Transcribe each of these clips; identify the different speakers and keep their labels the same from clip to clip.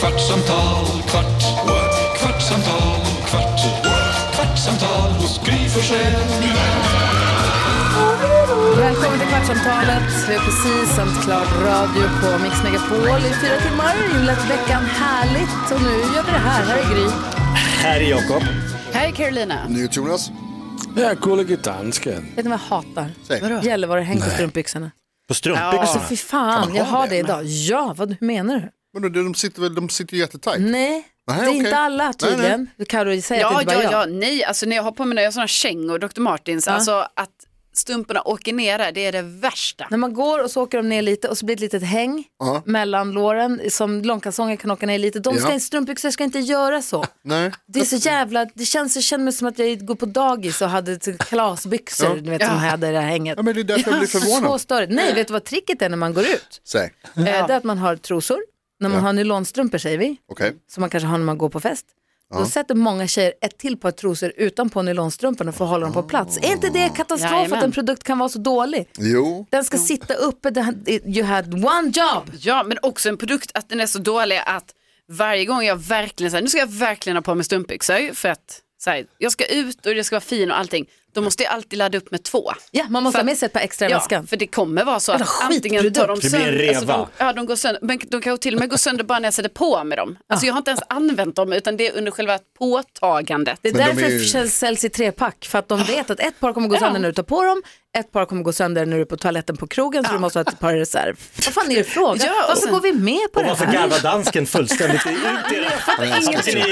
Speaker 1: kvartsamtal, kvart, what? kvartsamtal, kvart, what? kvartsamtal hos Gry Forssell med vänner.
Speaker 2: Välkommen till Kvartsamtalet. Vi har precis sänt klart radio på Mix Megapol i fyra timmar. Inlett veckan härligt och nu gör vi det här. Här är Gry.
Speaker 3: Här är Jakob.
Speaker 2: Här är Carolina.
Speaker 4: Jonas.
Speaker 3: Ja, gullige dansken.
Speaker 2: Vet ni vad jag hatar?
Speaker 4: Säg.
Speaker 2: Gällivare-häng på strumpbyxorna.
Speaker 3: På strumpbyxorna?
Speaker 2: Ja. Alltså fy fan, jag har det idag. Ja, vad hur menar du?
Speaker 4: Men de- de sitter väl de sitter ju jättetajt?
Speaker 2: Nej, det
Speaker 4: Nej,
Speaker 2: är
Speaker 4: okej.
Speaker 2: inte alla tydligen. Carro säger att det
Speaker 5: Ja,
Speaker 2: inte bara
Speaker 5: ja,
Speaker 2: jag.
Speaker 5: ja, nej, alltså när jag har på mig när jag har sådana kängor, Dr. Martins, alltså att stumporna åker ner där, det är det värsta.
Speaker 2: När man går och så åker de ner lite och så blir det ett litet häng
Speaker 4: Ja.
Speaker 2: mellan låren som långkalsonger kan åka ner lite. De ska,
Speaker 4: Ja.
Speaker 2: Strumpbyxor ska inte göra så.
Speaker 4: Nej.
Speaker 2: Det är så jävla, det känns, jag känner mig som att jag går på dagis och hade ett kalasbyxor,
Speaker 4: Ja.
Speaker 2: du vet, som hade det här hänget.
Speaker 4: Ja, men det är därför jag blir förvånad.
Speaker 2: Så störigt. Nej, vet du vad tricket är när man går ut?
Speaker 4: Säg.
Speaker 2: Eh, Det är att man har trosor, när man har nylonstrumpor säger vi,
Speaker 4: Okej.
Speaker 2: som man kanske har när man går på fest. Då sätter många tjejer ett till par trosor utanpå nylonstrumporna för att hålla dem på plats. Är inte det katastrof att
Speaker 5: Jajamän.
Speaker 2: en produkt kan vara så dålig?
Speaker 4: Jo.
Speaker 2: Den ska sitta uppe, det här- you had one job.
Speaker 5: Ja, men också en produkt att den är så dålig att varje gång jag verkligen säger, nu ska jag verkligen ha på mig stumpbyxor för att så här, jag ska ut och det ska vara fin och allting, då måste jag alltid ladda upp med två.
Speaker 2: Ja, man måste
Speaker 5: För-
Speaker 2: ha med sig ett par extra i
Speaker 5: Ja,
Speaker 2: väskan.
Speaker 5: för det kommer vara så
Speaker 2: Jävla
Speaker 5: att antingen tar de
Speaker 2: skitprodukt.
Speaker 3: Det blir
Speaker 5: sönder,
Speaker 3: en
Speaker 5: alltså
Speaker 3: reva.
Speaker 5: de, ja, de, går sönder, men de kan ju till och med gå sönder bara när jag sätter på mig dem.
Speaker 2: Ah.
Speaker 5: Alltså jag har inte ens använt dem utan det är under själva påtagandet.
Speaker 2: Det är
Speaker 4: Men de
Speaker 2: därför
Speaker 4: är ju-
Speaker 2: det säljs- säljs i trepack, för att de vet att ett par kommer gå sönder när du tar på dem, ett par kommer gå sönder när du är på toaletten på krogen, så du måste ha ett par i reserv. Vad fan är det frågan?
Speaker 5: Ja, och
Speaker 2: Varför
Speaker 5: sen-
Speaker 2: går vi med på
Speaker 3: Och
Speaker 2: det
Speaker 3: varför
Speaker 2: här?
Speaker 3: garvar dansken fullständigt ut i det? Ni är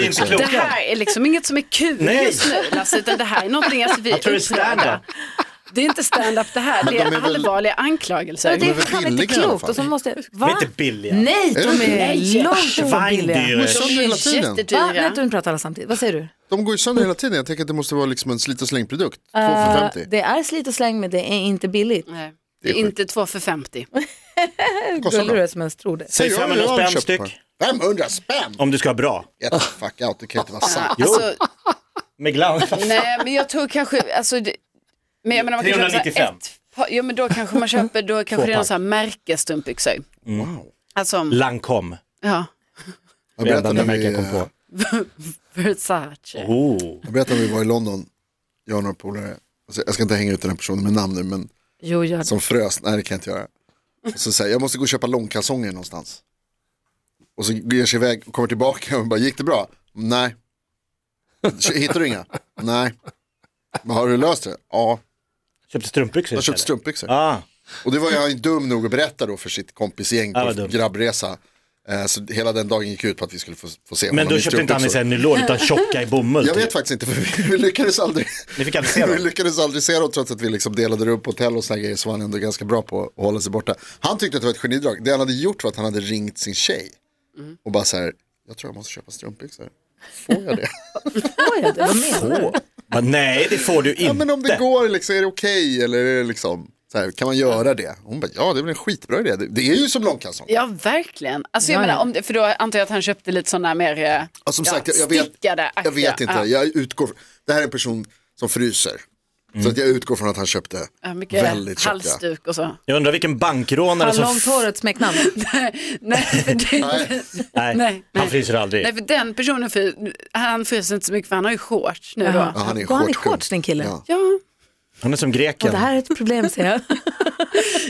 Speaker 3: inte
Speaker 5: Det
Speaker 3: kloka.
Speaker 5: här är liksom inget som är kul
Speaker 3: Nej.
Speaker 5: just nu Lasse, utan det här är någonting alltså, vi
Speaker 3: Jag tror det är stand-up.
Speaker 5: Det är inte stand-up det här, det är,
Speaker 4: de är väl-
Speaker 5: allvarliga
Speaker 2: Ja,
Speaker 5: anklagelser.
Speaker 2: Det är
Speaker 4: De är väl
Speaker 2: fan inte
Speaker 4: billiga i alla
Speaker 2: klokt.
Speaker 4: fall.
Speaker 2: Och så måste jag...
Speaker 3: De
Speaker 2: Va?
Speaker 3: är inte billiga.
Speaker 2: Nej, de är långt ifrån billiga.
Speaker 3: Schweindyr.
Speaker 4: Sönder hela tiden.
Speaker 2: Va? Nej,
Speaker 5: jättedyra.
Speaker 2: du pratar alla samtidigt. Vad säger du?
Speaker 4: De går ju sönder hela tiden. Jag tänker att det måste vara liksom en slit och slängprodukt. Två för 50.
Speaker 2: Det är slit och släng, men det är inte billigt.
Speaker 5: Nej, Det är inte två för 50.
Speaker 4: kostar
Speaker 2: Gullig
Speaker 4: det?
Speaker 2: du är som ens tror det.
Speaker 3: Säg
Speaker 4: Jag- jag
Speaker 3: 500
Speaker 4: har
Speaker 3: spänn
Speaker 4: köpt på
Speaker 3: styck.
Speaker 4: den. 500 spänn?
Speaker 3: Om du ska ha bra.
Speaker 4: Get the fuck out, det kan ju inte vara sant.
Speaker 3: Jo.
Speaker 5: Alltså,
Speaker 3: Med glans.
Speaker 5: nej, men jag tror kanske, alltså, det, men jag menar man kan köpa så här
Speaker 3: 395.
Speaker 5: ett par- ja men då kanske man köper, då kanske det är
Speaker 3: pack.
Speaker 5: någon sån här märkesstumpbyxor. Alltså,
Speaker 3: Lancome.
Speaker 5: ja,
Speaker 4: Jag
Speaker 3: Det är det
Speaker 4: berättade
Speaker 3: enda
Speaker 4: när
Speaker 3: märke
Speaker 4: vi,
Speaker 3: jag kom på.
Speaker 5: Versace.
Speaker 3: Oh.
Speaker 4: jag berättade när vi var i London, jag och några polare. Alltså, jag ska inte hänga ut den här personen med namn nu, men
Speaker 2: Jo, jag...
Speaker 4: som frös. Nej, det kan jag inte göra. Och så säger jag, jag måste gå och köpa långkalsonger någonstans. Och så ger jag sig iväg och kommer tillbaka och bara, gick det bra? Nej. Hittar du inga? Nej. Men har du löst det? Ja.
Speaker 3: Köpte strumpbyxor
Speaker 4: Jag har köpt
Speaker 3: istället.
Speaker 4: strumpbyxor.
Speaker 3: Ah.
Speaker 4: Och det var jag ju dum nog att berätta då för sitt kompisgäng
Speaker 3: Ja,
Speaker 4: på
Speaker 3: vad dumt.
Speaker 4: grabbresa. Eh, Så hela den dagen gick ut på att vi skulle få, få se
Speaker 3: Men
Speaker 4: honom
Speaker 3: då
Speaker 4: i
Speaker 3: köpte inte han i
Speaker 4: strumpbyxor.
Speaker 3: sig nylon utan tjocka i bomull.
Speaker 4: Jag vet
Speaker 3: typ.
Speaker 4: faktiskt inte, för vi, vi lyckades aldrig.
Speaker 3: Ni fick aldrig se
Speaker 4: vi
Speaker 3: dem.
Speaker 4: lyckades aldrig se dem trots att vi liksom delade rum på hotell och sådana grejer så var han ändå ganska bra på att hålla sig borta. Han tyckte att det var ett genidrag. Det han hade gjort var att han hade ringt sin tjej och bara så här, jag tror jag måste köpa strumpbyxor. Får jag det?
Speaker 2: Oj, det var med.
Speaker 3: Åh. Men Nej, det får du inte.
Speaker 4: ja, men om det går, liksom, är det okej eller är det liksom, så här, kan man göra det? Hon bara, ja det är väl en skitbra idé. Det, det är ju som långkalsong.
Speaker 5: Ja, verkligen. Alltså,
Speaker 2: Ja,
Speaker 5: jag
Speaker 2: ja.
Speaker 5: menar, om det, för då antar jag att han köpte lite sådana mer eh,
Speaker 4: Ja, Alltså, som
Speaker 5: ja,
Speaker 4: sagt, jag, jag, vet,
Speaker 5: stickade
Speaker 4: jag vet
Speaker 5: aktier.
Speaker 4: inte,
Speaker 5: Ja.
Speaker 4: jag utgår, det här är en person som fryser.
Speaker 3: Mm.
Speaker 4: Så att jag utgår från att han köpte
Speaker 5: Ja, mycket
Speaker 4: väldigt tjocka.
Speaker 5: halsduk och så.
Speaker 3: Jag undrar vilken bankrånare
Speaker 2: Har
Speaker 3: som...
Speaker 2: långt håret smeknamn?
Speaker 5: Nej, för det,
Speaker 4: Nej.
Speaker 3: Nej,
Speaker 5: Nej,
Speaker 3: han
Speaker 5: nej.
Speaker 3: fryser aldrig.
Speaker 5: nej, för den personen, för, han fryser inte så mycket för han har ju shorts nu då.
Speaker 4: Ja, han är
Speaker 2: Går han i
Speaker 4: shortskung.
Speaker 2: shorts, din kille?
Speaker 4: Ja.
Speaker 5: Ja,
Speaker 3: Han är som
Speaker 2: Och
Speaker 3: greken.
Speaker 2: det här är ett problem, säger jag.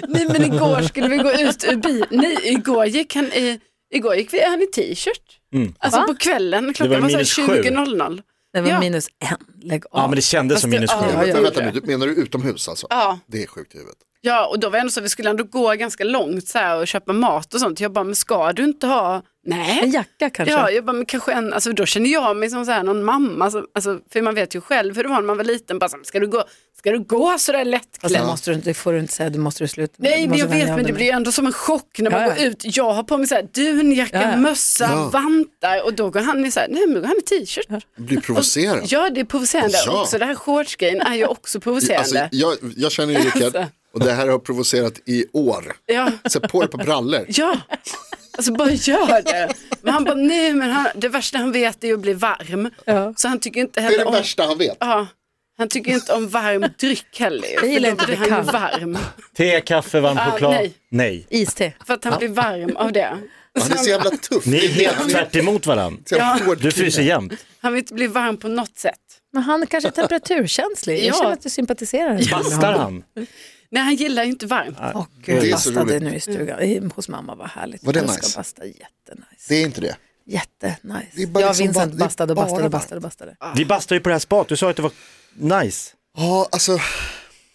Speaker 5: nej men igår skulle vi gå ut ur bilen, nej igår gick han i, igår gick vi, han i t-shirt. Alltså på kvällen, klockan
Speaker 3: Mm. var
Speaker 5: var, så här
Speaker 3: minus sju.
Speaker 5: 20.00.
Speaker 2: Det var
Speaker 5: Ja.
Speaker 2: minus en, lägg av.
Speaker 3: Ja, men det kändes som minus sju.
Speaker 5: ja,
Speaker 4: Men
Speaker 5: ja.
Speaker 4: vänta nu, du- menar du utomhus alltså?
Speaker 5: Ja.
Speaker 4: Det är sjukt i huvudet.
Speaker 5: Ja, och då var det ändå så att vi skulle ändå gå ganska långt så här, och köpa mat och sånt. Jag bara, men ska du inte ha? Nej.
Speaker 2: En jacka kanske?
Speaker 5: Ja, jag bara, men kanske en, alltså då känner jag mig som så här någon mamma, som, alltså, för man vet ju själv hur det var när man var liten, bara så här, ska du gå, ska du gå sådär
Speaker 2: Fast det
Speaker 3: Alltså,
Speaker 5: lättklädd?
Speaker 2: måste du inte, det får du inte säga, du måste du sluta med. Du
Speaker 5: Nej, men
Speaker 2: måste
Speaker 5: jag
Speaker 2: vänja
Speaker 5: vet,
Speaker 2: av
Speaker 5: men
Speaker 2: dig
Speaker 5: det
Speaker 2: med.
Speaker 5: blir ju ändå som en chock när man
Speaker 2: Ja, ja.
Speaker 5: går ut. Jag har på mig så här, dunjacka,
Speaker 2: Ja, ja.
Speaker 5: mössa,
Speaker 4: Ja.
Speaker 5: vantar och då går han i så här, nej men då går han i t-shirt.
Speaker 4: Blir provocerad.
Speaker 5: Ja, det Alltså, är provocerande
Speaker 4: Ja.
Speaker 5: också. Det här shortsgrejen är ju också
Speaker 4: Alltså,
Speaker 5: provocerande. Alltså.
Speaker 4: jag, jag känner ju Rickard och det här har provocerat i år.
Speaker 5: Ja.
Speaker 4: Sätt på dig på brallor.
Speaker 5: Ja, alltså bara gör det. Men han bara, nej men han, det värsta han vet är ju att bli varm. Så han tycker
Speaker 4: Det
Speaker 5: inte
Speaker 4: är
Speaker 5: heller
Speaker 4: det
Speaker 5: om,
Speaker 4: värsta han vet.
Speaker 5: ja, han tycker inte om varm dryck heller. Jag
Speaker 2: gillar inte
Speaker 5: blir
Speaker 2: att
Speaker 5: han
Speaker 2: bli
Speaker 5: ju
Speaker 2: kall.
Speaker 5: varm.
Speaker 3: Te, kaffe, varm
Speaker 5: Ah,
Speaker 3: choklad.
Speaker 5: nej.
Speaker 3: nej.
Speaker 2: Iste.
Speaker 5: För att han blir varm av det.
Speaker 4: Han är så jävla tuff.
Speaker 3: Ni är helt tvärt emot varandra.
Speaker 4: Så jävla hård
Speaker 3: Du
Speaker 4: kille.
Speaker 3: fryser jämt.
Speaker 5: Han vill inte bli varm på något sätt.
Speaker 2: Men han kanske är temperaturkänslig. Jag
Speaker 5: Ja.
Speaker 2: känner att du sympatiserar. med
Speaker 3: Bastar
Speaker 2: honom.
Speaker 3: han?
Speaker 5: Nej, han gillar ju inte varmt.
Speaker 2: Åh gud,
Speaker 4: Det är så
Speaker 2: bastade
Speaker 4: roligt.
Speaker 2: nu i stugan, i- hos mamma, vad härligt.
Speaker 4: Var det
Speaker 2: jag
Speaker 4: nice?
Speaker 2: ska basta, jättenice.
Speaker 4: Det är inte det.
Speaker 2: Jättenice.
Speaker 4: Det är bara
Speaker 2: jag och
Speaker 4: liksom
Speaker 2: Vincent
Speaker 4: bara- det är
Speaker 2: bastade och
Speaker 4: bara
Speaker 2: bastade och
Speaker 4: varmt.
Speaker 2: bastade, bastade.
Speaker 3: Vi bastar ju på det här spat. Du sa att det var nice.
Speaker 4: Ja, alltså.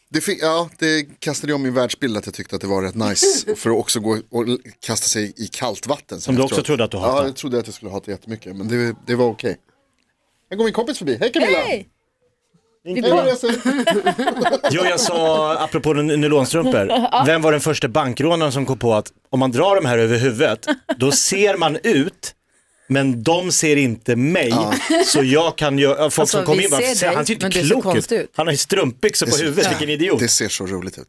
Speaker 4: Det, fi- ja, det kastade jag min världsbild att jag tyckte att det var rätt nice. För att också gå och l- kasta sig i kallt vatten.
Speaker 3: Som du också trodde att du hatade.
Speaker 4: Ja, jag trodde att jag skulle hata jättemycket. Men det, det var okej. Här går min kompis förbi. Hej Camilla!
Speaker 2: Hej!
Speaker 4: Hej, Lasse.
Speaker 2: alltså,
Speaker 3: Jo, jag sa, apropå n- nylonstrumpor, vem var den första bankrånaren som kom på att om man drar de här över huvudet, då ser man ut, men de ser inte mig. Så jag kan ju, folk
Speaker 2: Alltså,
Speaker 3: som kommer
Speaker 2: vi
Speaker 3: in bara,
Speaker 2: ser
Speaker 3: "Se,
Speaker 2: dig,
Speaker 3: han ser inte
Speaker 2: men du ser
Speaker 3: klok ut.
Speaker 2: konstig ut."
Speaker 3: Han har ju strumpbyxor på huvudet, vilken idiot.
Speaker 4: Det ser så roligt ut.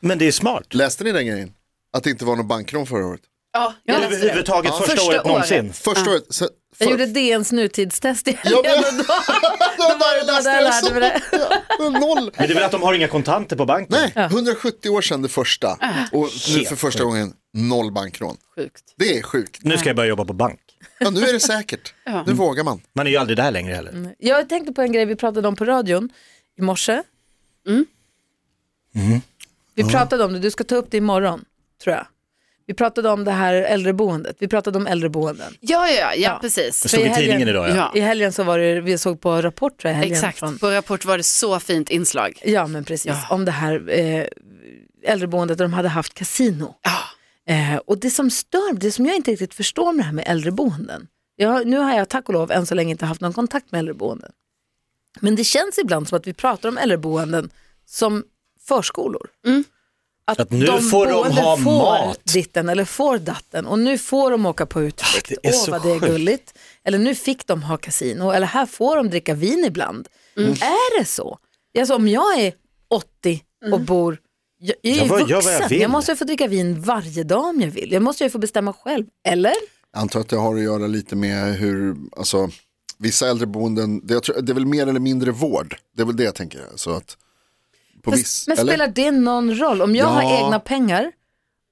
Speaker 3: Men det är smart.
Speaker 4: Läste ni den grejen? Att det inte var någon bankrån förra året?
Speaker 5: Ja, jag läste det.
Speaker 3: Överhuvudtaget första,
Speaker 5: Första
Speaker 3: året
Speaker 5: året.
Speaker 3: någonsin.
Speaker 4: Första året. Sen, för,
Speaker 2: Jag gjorde DNs nutidstest i
Speaker 4: Ja, men-
Speaker 2: helgen och då
Speaker 4: det var det
Speaker 2: där jag lärde mig det.
Speaker 4: Noll.
Speaker 3: Men det är väl att de har inga kontanter på banken.
Speaker 4: Nej, 170 år sedan det första.
Speaker 2: Ah.
Speaker 4: Och nu för första gången noll bankrån.
Speaker 5: Sjukt.
Speaker 4: Det är sjukt.
Speaker 3: Nu ska jag börja jobba på bank.
Speaker 4: Ja, nu är det säkert. Nu vågar man.
Speaker 3: Man är ju aldrig där längre heller.
Speaker 2: Jag tänkte på en grej vi pratade om på radion i morse.
Speaker 5: Mm.
Speaker 3: Mm-hmm.
Speaker 2: Vi pratade om det, du ska ta upp det imorgon, tror jag. Vi pratade om det här äldreboendet, vi pratade om äldreboenden.
Speaker 5: Ja, ja, ja,
Speaker 2: Ja.
Speaker 5: ja, precis.
Speaker 3: Det stod
Speaker 2: För i
Speaker 3: i
Speaker 2: helgen-
Speaker 3: tidningen idag ja.
Speaker 5: Ja.
Speaker 2: I helgen så var det, vi såg på Rapport tror jag, i helgen
Speaker 5: Exakt,
Speaker 2: från-
Speaker 5: på Rapport var det så fint inslag.
Speaker 2: Ja men precis, om det här eh, äldreboendet där de hade haft kasino. Eh, och det som stör, det som jag inte riktigt förstår med det här med äldreboenden. Jag, nu har jag tack och lov än så länge inte haft någon kontakt med äldreboenden. Men det känns ibland som att vi pratar om äldreboenden som förskolor.
Speaker 3: Att nu får de
Speaker 2: boende
Speaker 3: ha
Speaker 2: får
Speaker 3: mat. Ah,
Speaker 2: ditten eller får datten och nu får de åka på utflykt.
Speaker 3: det är
Speaker 2: Åh
Speaker 3: så
Speaker 2: vad det är
Speaker 3: sjukt.
Speaker 2: gulligt. Eller nu fick de ha kasino eller här får de dricka vin ibland. Är det så? Alltså, om jag är 80 och bor jag jag är
Speaker 3: Jag
Speaker 2: ju
Speaker 3: var- jag
Speaker 2: vuxen,
Speaker 3: var jag
Speaker 2: jag,
Speaker 3: vill.
Speaker 2: måste ju få dricka vin varje dag om jag vill. Jag måste ju få bestämma själv, eller?
Speaker 4: Jag antar att det har att göra lite med hur, alltså, vissa äldreboenden, det, jag tror, det är väl mer eller mindre vård. Det är väl det jag tänker. Så att, på viss,
Speaker 2: Men
Speaker 4: eller?
Speaker 2: spelar det någon roll? Om jag har
Speaker 4: Ja.
Speaker 2: egna pengar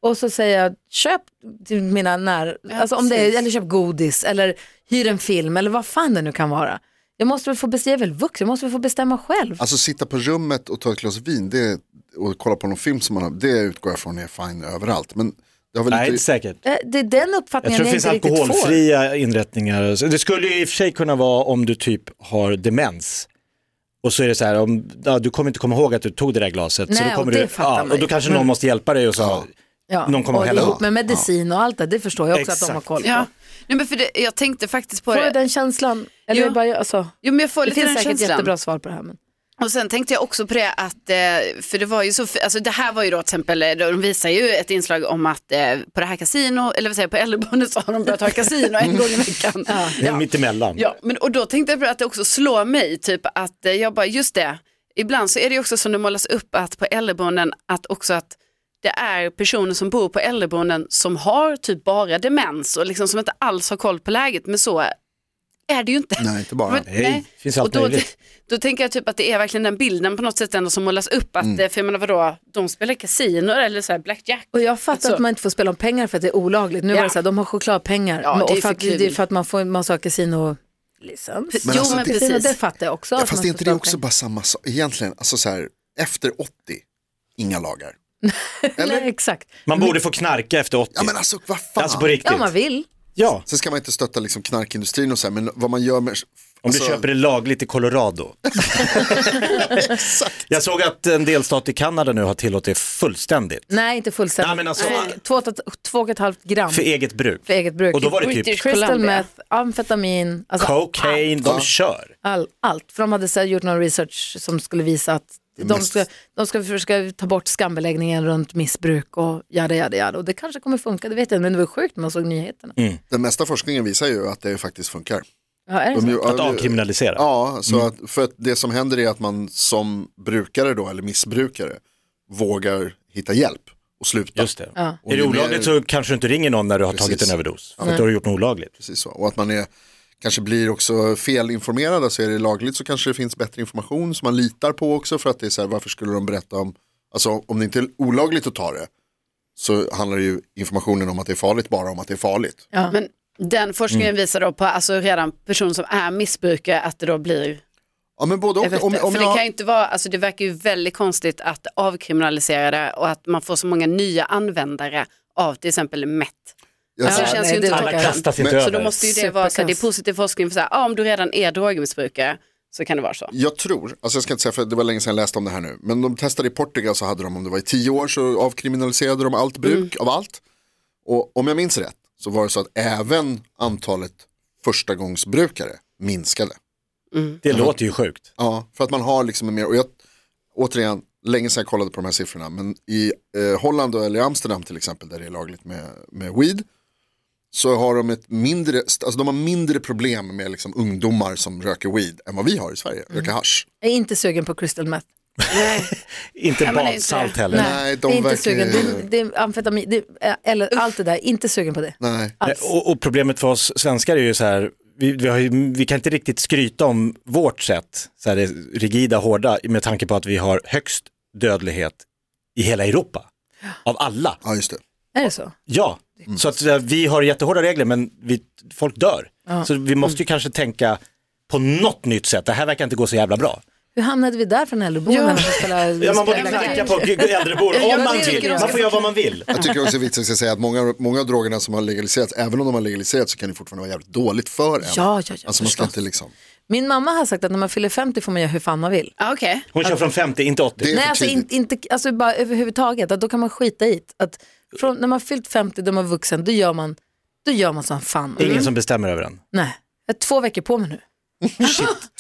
Speaker 2: och så säger jag köp till mina när, alltså om det är,
Speaker 5: precis.
Speaker 2: eller köp godis eller hyr en film eller vad fan det nu kan vara. Jag måste väl få bestämma, jag är väl vuxen, jag måste väl få bestämma själv.
Speaker 4: Alltså sitta på rummet och ta ett glas vin det, och kolla på någon film som man har, det utgår jag från är fine överallt. Men det har väl
Speaker 3: Nej, inte
Speaker 4: lite,
Speaker 3: säkert.
Speaker 2: Eh, Det är den
Speaker 3: Jag
Speaker 2: uppfattningen jag,
Speaker 3: tror det finns
Speaker 2: inte riktigt får.
Speaker 3: alkoholfria inrättningar. Så Det skulle ju i och för sig kunna vara om du typ har demens. Och så är det så här, om, ja, du kommer inte komma ihåg att du tog det där glaset. så
Speaker 2: Nej,
Speaker 3: då kommer
Speaker 2: och det
Speaker 3: du,
Speaker 2: fattar
Speaker 3: ja,
Speaker 2: man ju.
Speaker 3: och då kanske någon måste hjälpa dig och så.
Speaker 2: Ja.
Speaker 3: Någon kommer
Speaker 2: och
Speaker 3: att hälla
Speaker 2: ihop
Speaker 3: upp.
Speaker 2: med medicin och allt det, det förstår jag också att de har
Speaker 3: Exakt.
Speaker 2: koll på.
Speaker 5: Ja. Nej, men för det, jag tänkte faktiskt på
Speaker 2: Får jag
Speaker 5: det.
Speaker 2: den känslan? Eller
Speaker 5: Ja.
Speaker 2: är det bara jag, alltså,
Speaker 5: Jo, men jag får
Speaker 2: det
Speaker 5: lite
Speaker 2: finns
Speaker 5: den
Speaker 2: säkert
Speaker 5: känslan.
Speaker 2: jättebra svar på det här. Men...
Speaker 5: Och sen tänkte jag också på det att, eh, för det var ju så, alltså det här var ju då till exempel, eh, de visar ju ett inslag om att eh, på det här kasino, eller vad säger jag, på äldreboendet så har de börjat ha kasino en gång i veckan.
Speaker 3: Det är mitt emellan.
Speaker 5: Ja, men, och då tänkte jag på att det också slår mig, typ att eh, jag bara, just det, ibland så är det ju också som det målas upp att på äldreboenden, att också att det är personer som bor på äldreboenden som har typ bara demens och liksom som inte alls har koll på läget, men så är det ju inte.
Speaker 4: nej inte bara.
Speaker 5: Men-
Speaker 3: Nej, det finns allt
Speaker 5: och då,
Speaker 3: möjligt.
Speaker 5: då tänker jag typ att det är verkligen den bilden på något sätt ändå som målas upp, att mm. för jag menar vadå, de spelar kasino eller så här blackjack.
Speaker 2: Och jag fattar
Speaker 5: Alltså-
Speaker 2: att man inte får spela om pengar för att det är olagligt. Nu
Speaker 5: Ja.
Speaker 2: var det så här, de har chokladpengar.
Speaker 5: Ja,
Speaker 2: Men-
Speaker 5: det
Speaker 2: och
Speaker 5: är
Speaker 2: för
Speaker 5: för
Speaker 2: att, det är
Speaker 5: kul.
Speaker 2: för att man får, man söker kasinolicens.
Speaker 5: Men Jo, alltså, men det- precis.
Speaker 2: Kasino, Det fattar jag också.
Speaker 4: Ja,
Speaker 2: att man
Speaker 4: fast är
Speaker 2: får
Speaker 4: inte det
Speaker 2: spela
Speaker 4: också
Speaker 2: pengar.
Speaker 4: bara samma sak egentligen? Alltså så här, efter 80, inga lagar. Eller?
Speaker 2: Nej, exakt.
Speaker 3: Man borde få knarka efter 80.
Speaker 4: Ja men alltså vad fan.
Speaker 3: Alltså på riktigt.
Speaker 2: Ja, man vill.
Speaker 3: Ja.
Speaker 4: Sen ska man inte stötta liksom knarkindustrin och så här, men vad man gör med
Speaker 3: Om du
Speaker 4: Alltså-
Speaker 3: köper det lagligt i Colorado. Jag såg att en delstat i Kanada nu har tillåtit fullständigt.
Speaker 2: Nej, inte fullständigt. Eh,
Speaker 3: Nej, men alltså-
Speaker 2: två, två, två och ett halvt gram
Speaker 3: För
Speaker 2: för,
Speaker 3: eget bruk.
Speaker 2: eget bruk.
Speaker 3: Och då var det typ
Speaker 5: British
Speaker 2: Crystal
Speaker 5: Columbia.
Speaker 2: meth, amfetamin, alltså
Speaker 3: cocaine, de kör.
Speaker 2: All, allt, för de hade så här, gjort någon research som skulle visa att de
Speaker 4: mest-
Speaker 2: ska, de ska försöka ta bort skambeläggningen runt missbruk och jada, jada, jada. Och det kanske kommer funka, det vet jag inte, men det var sjukt när man såg nyheterna.
Speaker 4: Den mesta forskningen visar ju att det faktiskt funkar.
Speaker 2: Ja, är det
Speaker 4: De
Speaker 2: så?
Speaker 4: ju-
Speaker 3: Att avkriminalisera. Mm.
Speaker 4: Ja, så att, för att det som händer är att man som brukare då, eller missbrukare, vågar hitta hjälp och sluta.
Speaker 3: Just det.
Speaker 4: Och
Speaker 3: Är det
Speaker 4: ju mer-
Speaker 3: olagligt så kanske du inte ringer någon när du har
Speaker 4: Precis.
Speaker 3: tagit en överdos. För att du har gjort något olagligt.
Speaker 4: Precis så. Och att man är, kanske blir också felinformerad, alltså är det lagligt så kanske det finns bättre information som man litar på också för att det är så här, varför skulle de berätta om, alltså om det inte är olagligt att ta det så handlar ju informationen om att det är farligt bara om att det är farligt.
Speaker 5: Men den forskningen visar då på alltså, redan personer som är missbrukare att det då blir
Speaker 4: Ja men både och.
Speaker 5: Jag vet
Speaker 4: Om,
Speaker 5: det.
Speaker 4: om
Speaker 5: För
Speaker 4: jag,
Speaker 5: det kan ju inte vara, alltså det verkar ju väldigt konstigt att avkriminalisera det och att man får så många nya användare av till exempel MET.
Speaker 4: jag,
Speaker 5: Alltså,
Speaker 2: Ja,
Speaker 5: det känns
Speaker 2: nej,
Speaker 5: ju inte
Speaker 2: det
Speaker 3: Alla
Speaker 2: verkar-
Speaker 5: toppen.
Speaker 3: kastas inte
Speaker 4: Men-
Speaker 5: Så
Speaker 3: över.
Speaker 5: då måste ju det vara så här, det är
Speaker 2: Superkast.
Speaker 5: positiv forskning för så här, ah, om du redan är drogmissbrukare så kan det vara så.
Speaker 4: jag tror, alltså jag ska inte säga för det var länge sedan jag läste om det här nu, men de testade i Portugal så hade de, om det var i tio år så avkriminaliserade de allt bruk
Speaker 5: Mm.
Speaker 4: av allt. Och om jag minns rätt så var det så att även antalet förstagångsbrukare minskade.
Speaker 3: Det låter ju sjukt.
Speaker 4: Ja, för att man har liksom en mer, och jag, återigen, länge sedan jag kollade på de här siffrorna, men i eh, Holland och- eller i Amsterdam till exempel, där det är lagligt med, med weed, så har de ett mindre, alltså de har mindre problem med liksom ungdomar som röker weed än vad vi har i Sverige,
Speaker 2: Mm.
Speaker 4: röker hasch.
Speaker 2: Jag är inte sugen på crystal meth.
Speaker 3: Inte
Speaker 5: men det är inte
Speaker 3: badsalt
Speaker 5: det.
Speaker 3: heller.
Speaker 4: Nej. de
Speaker 2: det är inte
Speaker 4: verkar-
Speaker 2: sugen. Det, det är amfetamin, det, är- eller allt det där, inte sugen på det.
Speaker 4: Nej,
Speaker 2: Alls.
Speaker 3: Och, och problemet för oss svenskar är ju så här, vi, vi, har ju, vi kan inte riktigt skryta om vårt sätt, så här det rigida, hårda, med tanke på att vi har högst dödlighet i hela Europa. Av alla.
Speaker 4: ja just det.
Speaker 2: Är det så?
Speaker 3: Ja,
Speaker 5: Mm.
Speaker 3: så att så här, vi har jättehårda regler men vi, folk dör. Så vi måste ju kanske tänka på något nytt sätt, det här verkar inte gå så jävla bra.
Speaker 2: Hur hamnade vi där från äldreboende? när man ska spela-
Speaker 3: Ja, man borde
Speaker 2: spela
Speaker 3: knacka
Speaker 2: game?
Speaker 3: på äldrebord
Speaker 5: Jag
Speaker 3: om man
Speaker 5: tycker
Speaker 3: vill,
Speaker 5: de
Speaker 3: man
Speaker 5: ska
Speaker 3: får göra vad man vill.
Speaker 4: Jag tycker också viktigt att jag ska säga att många, många av drogerna som har legaliserats, även om de har legaliserats så kan det fortfarande vara jävligt dåligt för en.
Speaker 2: Ja, ja, ja,
Speaker 4: alltså man ska
Speaker 2: förstås.
Speaker 4: inte liksom,
Speaker 2: Min mamma har sagt att när man fyller 50 får man göra hur fan man vill.
Speaker 5: Ah, Okej,
Speaker 3: Hon kör från 50, inte 80.
Speaker 4: det är
Speaker 2: Nej,
Speaker 4: för
Speaker 2: alltså,
Speaker 4: tidigt.
Speaker 2: in, inte, alltså bara överhuvudtaget, att då kan man skita i det. att från, När man fyllt 50, då är man vuxen, då gör man, då gör man som fan
Speaker 4: Mm.
Speaker 2: man vill.
Speaker 3: Ingen som bestämmer över en.
Speaker 2: Nej, jag har två veckor på mig nu.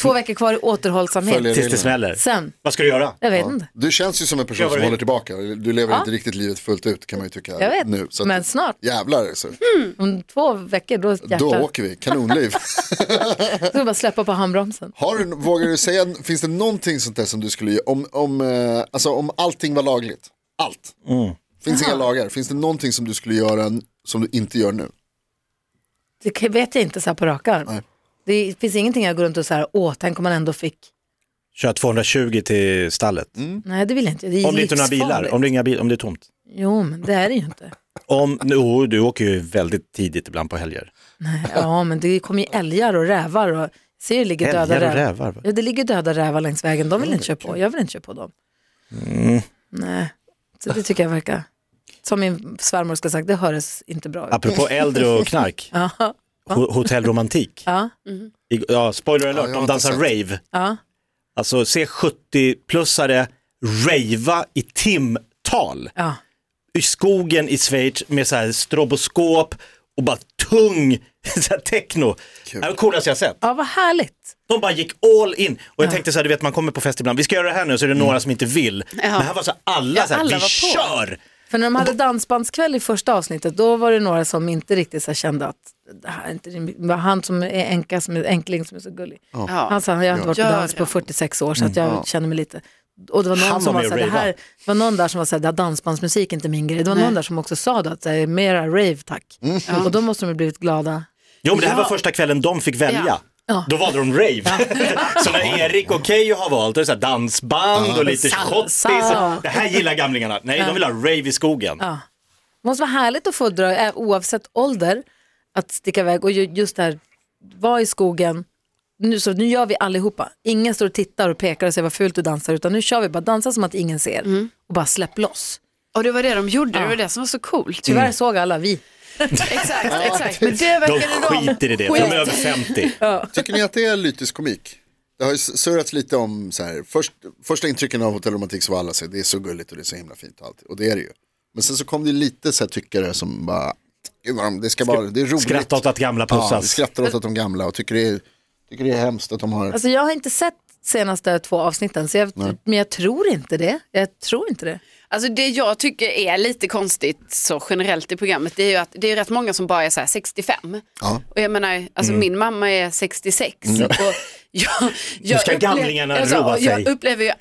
Speaker 2: två veckor kvar i återhållsamhet.
Speaker 4: Följer
Speaker 3: Tills det
Speaker 4: reglerna.
Speaker 3: smäller.
Speaker 2: Sen,
Speaker 3: Vad ska du göra?
Speaker 2: jag vet inte.
Speaker 4: Du känns ju som en person
Speaker 3: Gör vad
Speaker 4: som
Speaker 3: du vill.
Speaker 4: håller tillbaka, du lever inte riktigt livet fullt ut kan man ju tycka
Speaker 2: Jag vet,
Speaker 4: nu. Så att-
Speaker 2: men Mm, snart,
Speaker 4: Jävlar, så.
Speaker 2: om två veckor, då jäklar.
Speaker 4: då
Speaker 2: Då
Speaker 4: åker vi, kanonliv.
Speaker 2: ska vi bara släppa på handbromsen.
Speaker 4: Har du, vågar du säga, finns det någonting sånt där som du skulle ge, om, om, eh, alltså, om allting var lagligt, allt, finns inga lagar, finns det någonting som du skulle göra n- som du inte gör nu?
Speaker 2: Det kan- vet jag inte så här på rak arm.
Speaker 4: Nej.
Speaker 2: Det finns ingenting jag går runt och så här, åh, tänk om man ändå fick.
Speaker 3: Kör 220 till stallet.
Speaker 4: Mm.
Speaker 2: Nej, det vill jag inte. Det är
Speaker 3: Om det inte är några bilar,
Speaker 2: livsfarligt.
Speaker 3: om det, är inga bil, om det är tomt.
Speaker 2: Jo, men det är det ju inte.
Speaker 3: Om, jo, du åker ju väldigt tidigt ibland på helger.
Speaker 2: Ja, men det kommer ju älgar och rävar och ser ju ligger döda
Speaker 3: Älgar och
Speaker 2: räv-
Speaker 3: rävar, va?
Speaker 2: Ja, det ligger döda rävar längs vägen. De vill inte köra på. Jag vill inte köra på dem.
Speaker 3: Mm.
Speaker 2: Nej, så det tycker jag verkar. Som min svärmor ska ha sagt, det hörs inte bra ut.
Speaker 3: Apropå äldre och knark,
Speaker 2: Ja,
Speaker 3: ho- hotellromantik.
Speaker 2: ja,
Speaker 3: I- Ja, spoiler alert,
Speaker 4: jag har
Speaker 3: de
Speaker 4: inte
Speaker 3: dansar
Speaker 4: sett.
Speaker 3: rave.
Speaker 2: ja.
Speaker 3: Alltså se 70-plussare rava i timtal.
Speaker 2: ja.
Speaker 3: I skogen i Schweiz med så här stroboskop och bara tung så här techno. Det var det coolaste jag sett.
Speaker 2: ja vad härligt.
Speaker 3: De bara gick all in. Och jag tänkte så här, du vet man kommer på fest ibland, vi ska göra det här nu så är det några som inte vill. Men här var så här, alla,
Speaker 5: Mm. Ja,
Speaker 3: så här,
Speaker 5: alla var
Speaker 3: vi
Speaker 5: på.
Speaker 3: kör!
Speaker 2: För när de hade dansbandskväll i första avsnittet, då var det några som inte riktigt så här kände att det här är inte rim- det var han som är änka, som är enkling som är så gullig. Han sa, jag har inte varit på
Speaker 5: Göran.
Speaker 2: dans på 46 år så att jag känner mig lite... Och det var någon
Speaker 3: Mm. Han
Speaker 2: som
Speaker 3: var
Speaker 2: var
Speaker 3: med
Speaker 2: såhär,
Speaker 3: och
Speaker 2: det här,
Speaker 3: rava.
Speaker 2: det var någon där som var såhär, det här dansbandsmusik är inte min grej. Det var någon där som också sa då att det är mera rave tack. Och då måste de ju blivit glada.
Speaker 3: Jo men det här var första kvällen de fick välja.
Speaker 5: Ja.
Speaker 3: Då valde de rave. så när Erik och Keyyo har valt, då är det så här dansband och lite
Speaker 2: Salsa.
Speaker 3: schottis. Det här gillar gamlingarna. Nej, de vill ha rave i skogen.
Speaker 2: Det måste vara härligt att få dra, eh, oavsett ålder, att sticka iväg och ju- just det här, vara i skogen. Nu, så, nu gör vi allihopa. Ingen står och tittar och pekar och säger vad fult du dansar, utan nu kör vi bara dansa som att
Speaker 5: Mm.
Speaker 2: ingen ser och bara släpp loss.
Speaker 5: och det var det de gjorde, det var det som var så coolt.
Speaker 2: Tyvärr såg alla vi.
Speaker 5: Exakt, exakt.
Speaker 2: Men det
Speaker 3: De
Speaker 2: verkar det
Speaker 3: skiter i det, för de är över 50.
Speaker 4: Tycker ni att det är lytisk komik? Det har ju surrats lite om så här, först, första intrycken av Hotell Romantik så var alla så här, det är så gulligt och det är så himla fint och allt. Och det är det ju. Men sen så kom det lite så här tyckare som bara, "Gud vad de- det ska vara, det är roligt.
Speaker 3: Skratta åt att gamla
Speaker 4: Ja, vi
Speaker 3: pussas.
Speaker 4: skrattar åt att de gamla och tycker det är, tycker det är hemskt att de har,
Speaker 2: Alltså jag har inte sett senaste två avsnitten, så jag, men jag tror inte det. Jag tror inte det.
Speaker 5: Alltså det jag tycker är lite konstigt så generellt i programmet det är ju att det är rätt många som bara är så här 65.
Speaker 4: Ja.
Speaker 5: Och jag menar, alltså min mamma är 66. Och jag, jag
Speaker 3: ska gamlingarna roa
Speaker 5: och Jag
Speaker 3: sig.
Speaker 5: upplever ju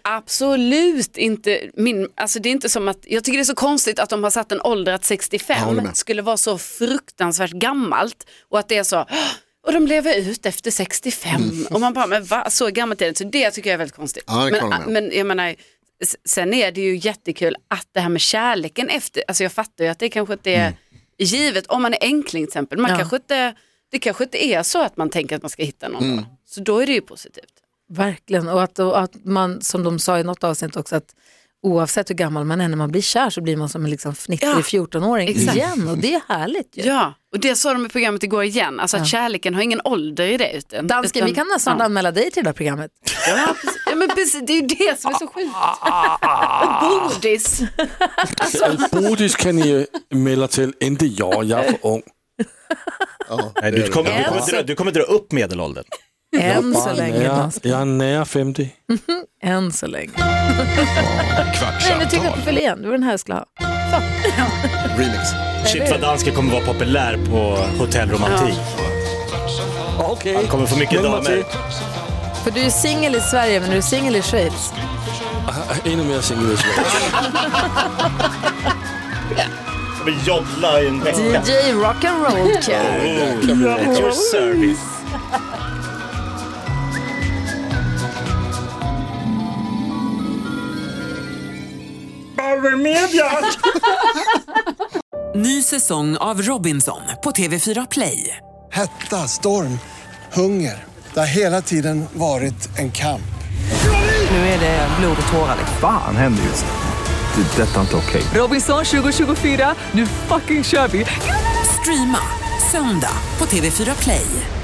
Speaker 5: absolut inte min, alltså det är inte som att, jag tycker det är så konstigt att de har satt en ålder att
Speaker 4: Jag håller
Speaker 5: 65
Speaker 4: med.
Speaker 5: skulle vara så fruktansvärt gammalt och att det är så, "Åh, och de lever ut efter 65 och man bara, men va, så gammalt är det inte. så det tycker jag är väldigt konstigt.
Speaker 4: Ja, det kan jag hålla med
Speaker 5: men,
Speaker 4: om.
Speaker 5: men jag menar, s- sen är det ju jättekul att det här med kärleken efter, alltså jag fattar ju att det kanske inte
Speaker 4: Mm.
Speaker 5: är givet, om man är enkling till exempel, man
Speaker 2: Ja.
Speaker 5: kanske inte, det kanske inte är så att man tänker att man ska hitta någon,
Speaker 4: Mm.
Speaker 5: då. så då är det ju positivt.
Speaker 2: Verkligen. Och att, och att man, som de sa i något avsnitt också, att oavsett hur gammal man är, när man blir kär så blir man som en liksom fnittrig
Speaker 5: Ja,
Speaker 2: 14-åring
Speaker 5: exakt.
Speaker 2: igen. Och det är härligt ju.
Speaker 5: Ja, och det sa de i programmet igår igen, alltså att kärleken har ingen ålder i det. Utan,
Speaker 2: Dansken,
Speaker 5: utan,
Speaker 2: vi kan nästan
Speaker 5: ja.
Speaker 2: anmäla dig till det här programmet.
Speaker 5: Ja, precis. ja, men precis, det är ju det som är så sjukt. Bodis.
Speaker 6: Bodis kan ni mejla till, inte jag, jag är för ung.
Speaker 4: ja,
Speaker 3: Nej,
Speaker 4: det är
Speaker 3: du,
Speaker 4: det.
Speaker 3: kommer, du, kommer dra, du kommer dra upp medelåldern.
Speaker 2: Än så
Speaker 6: Bara
Speaker 2: länge.
Speaker 6: nära,
Speaker 2: Dansken.
Speaker 6: jag är nära 50.
Speaker 2: Än så länge. Nej, nu tycker jag
Speaker 1: Kvartsamtal,
Speaker 2: att du fyller igen. Det var den här jag skulle ha.
Speaker 4: remix.
Speaker 3: Shit vad dansken kommer vara populär på hotellromantik.
Speaker 6: Okej.
Speaker 3: Han kommer få mycket
Speaker 6: Nummer
Speaker 3: damer.
Speaker 2: För du är singel i Sverige, men du är singel i Schweiz.
Speaker 6: till. Ännu mer singel i Sverige.
Speaker 3: Kommer joddla i en vecka.
Speaker 2: DJ Rock'n'Roll Kid.
Speaker 3: At your service. Power Media!
Speaker 7: Ny säsong av Robinson på TV4 Play.
Speaker 8: Hetta, storm, hunger. Det har hela tiden varit en kamp.
Speaker 7: Nu är det blod och tårar.
Speaker 9: Fan händer just nu. Det. är Detta är inte okej.
Speaker 7: Robinson 2024, nu fucking kör vi! Streama söndag på TV4 Play.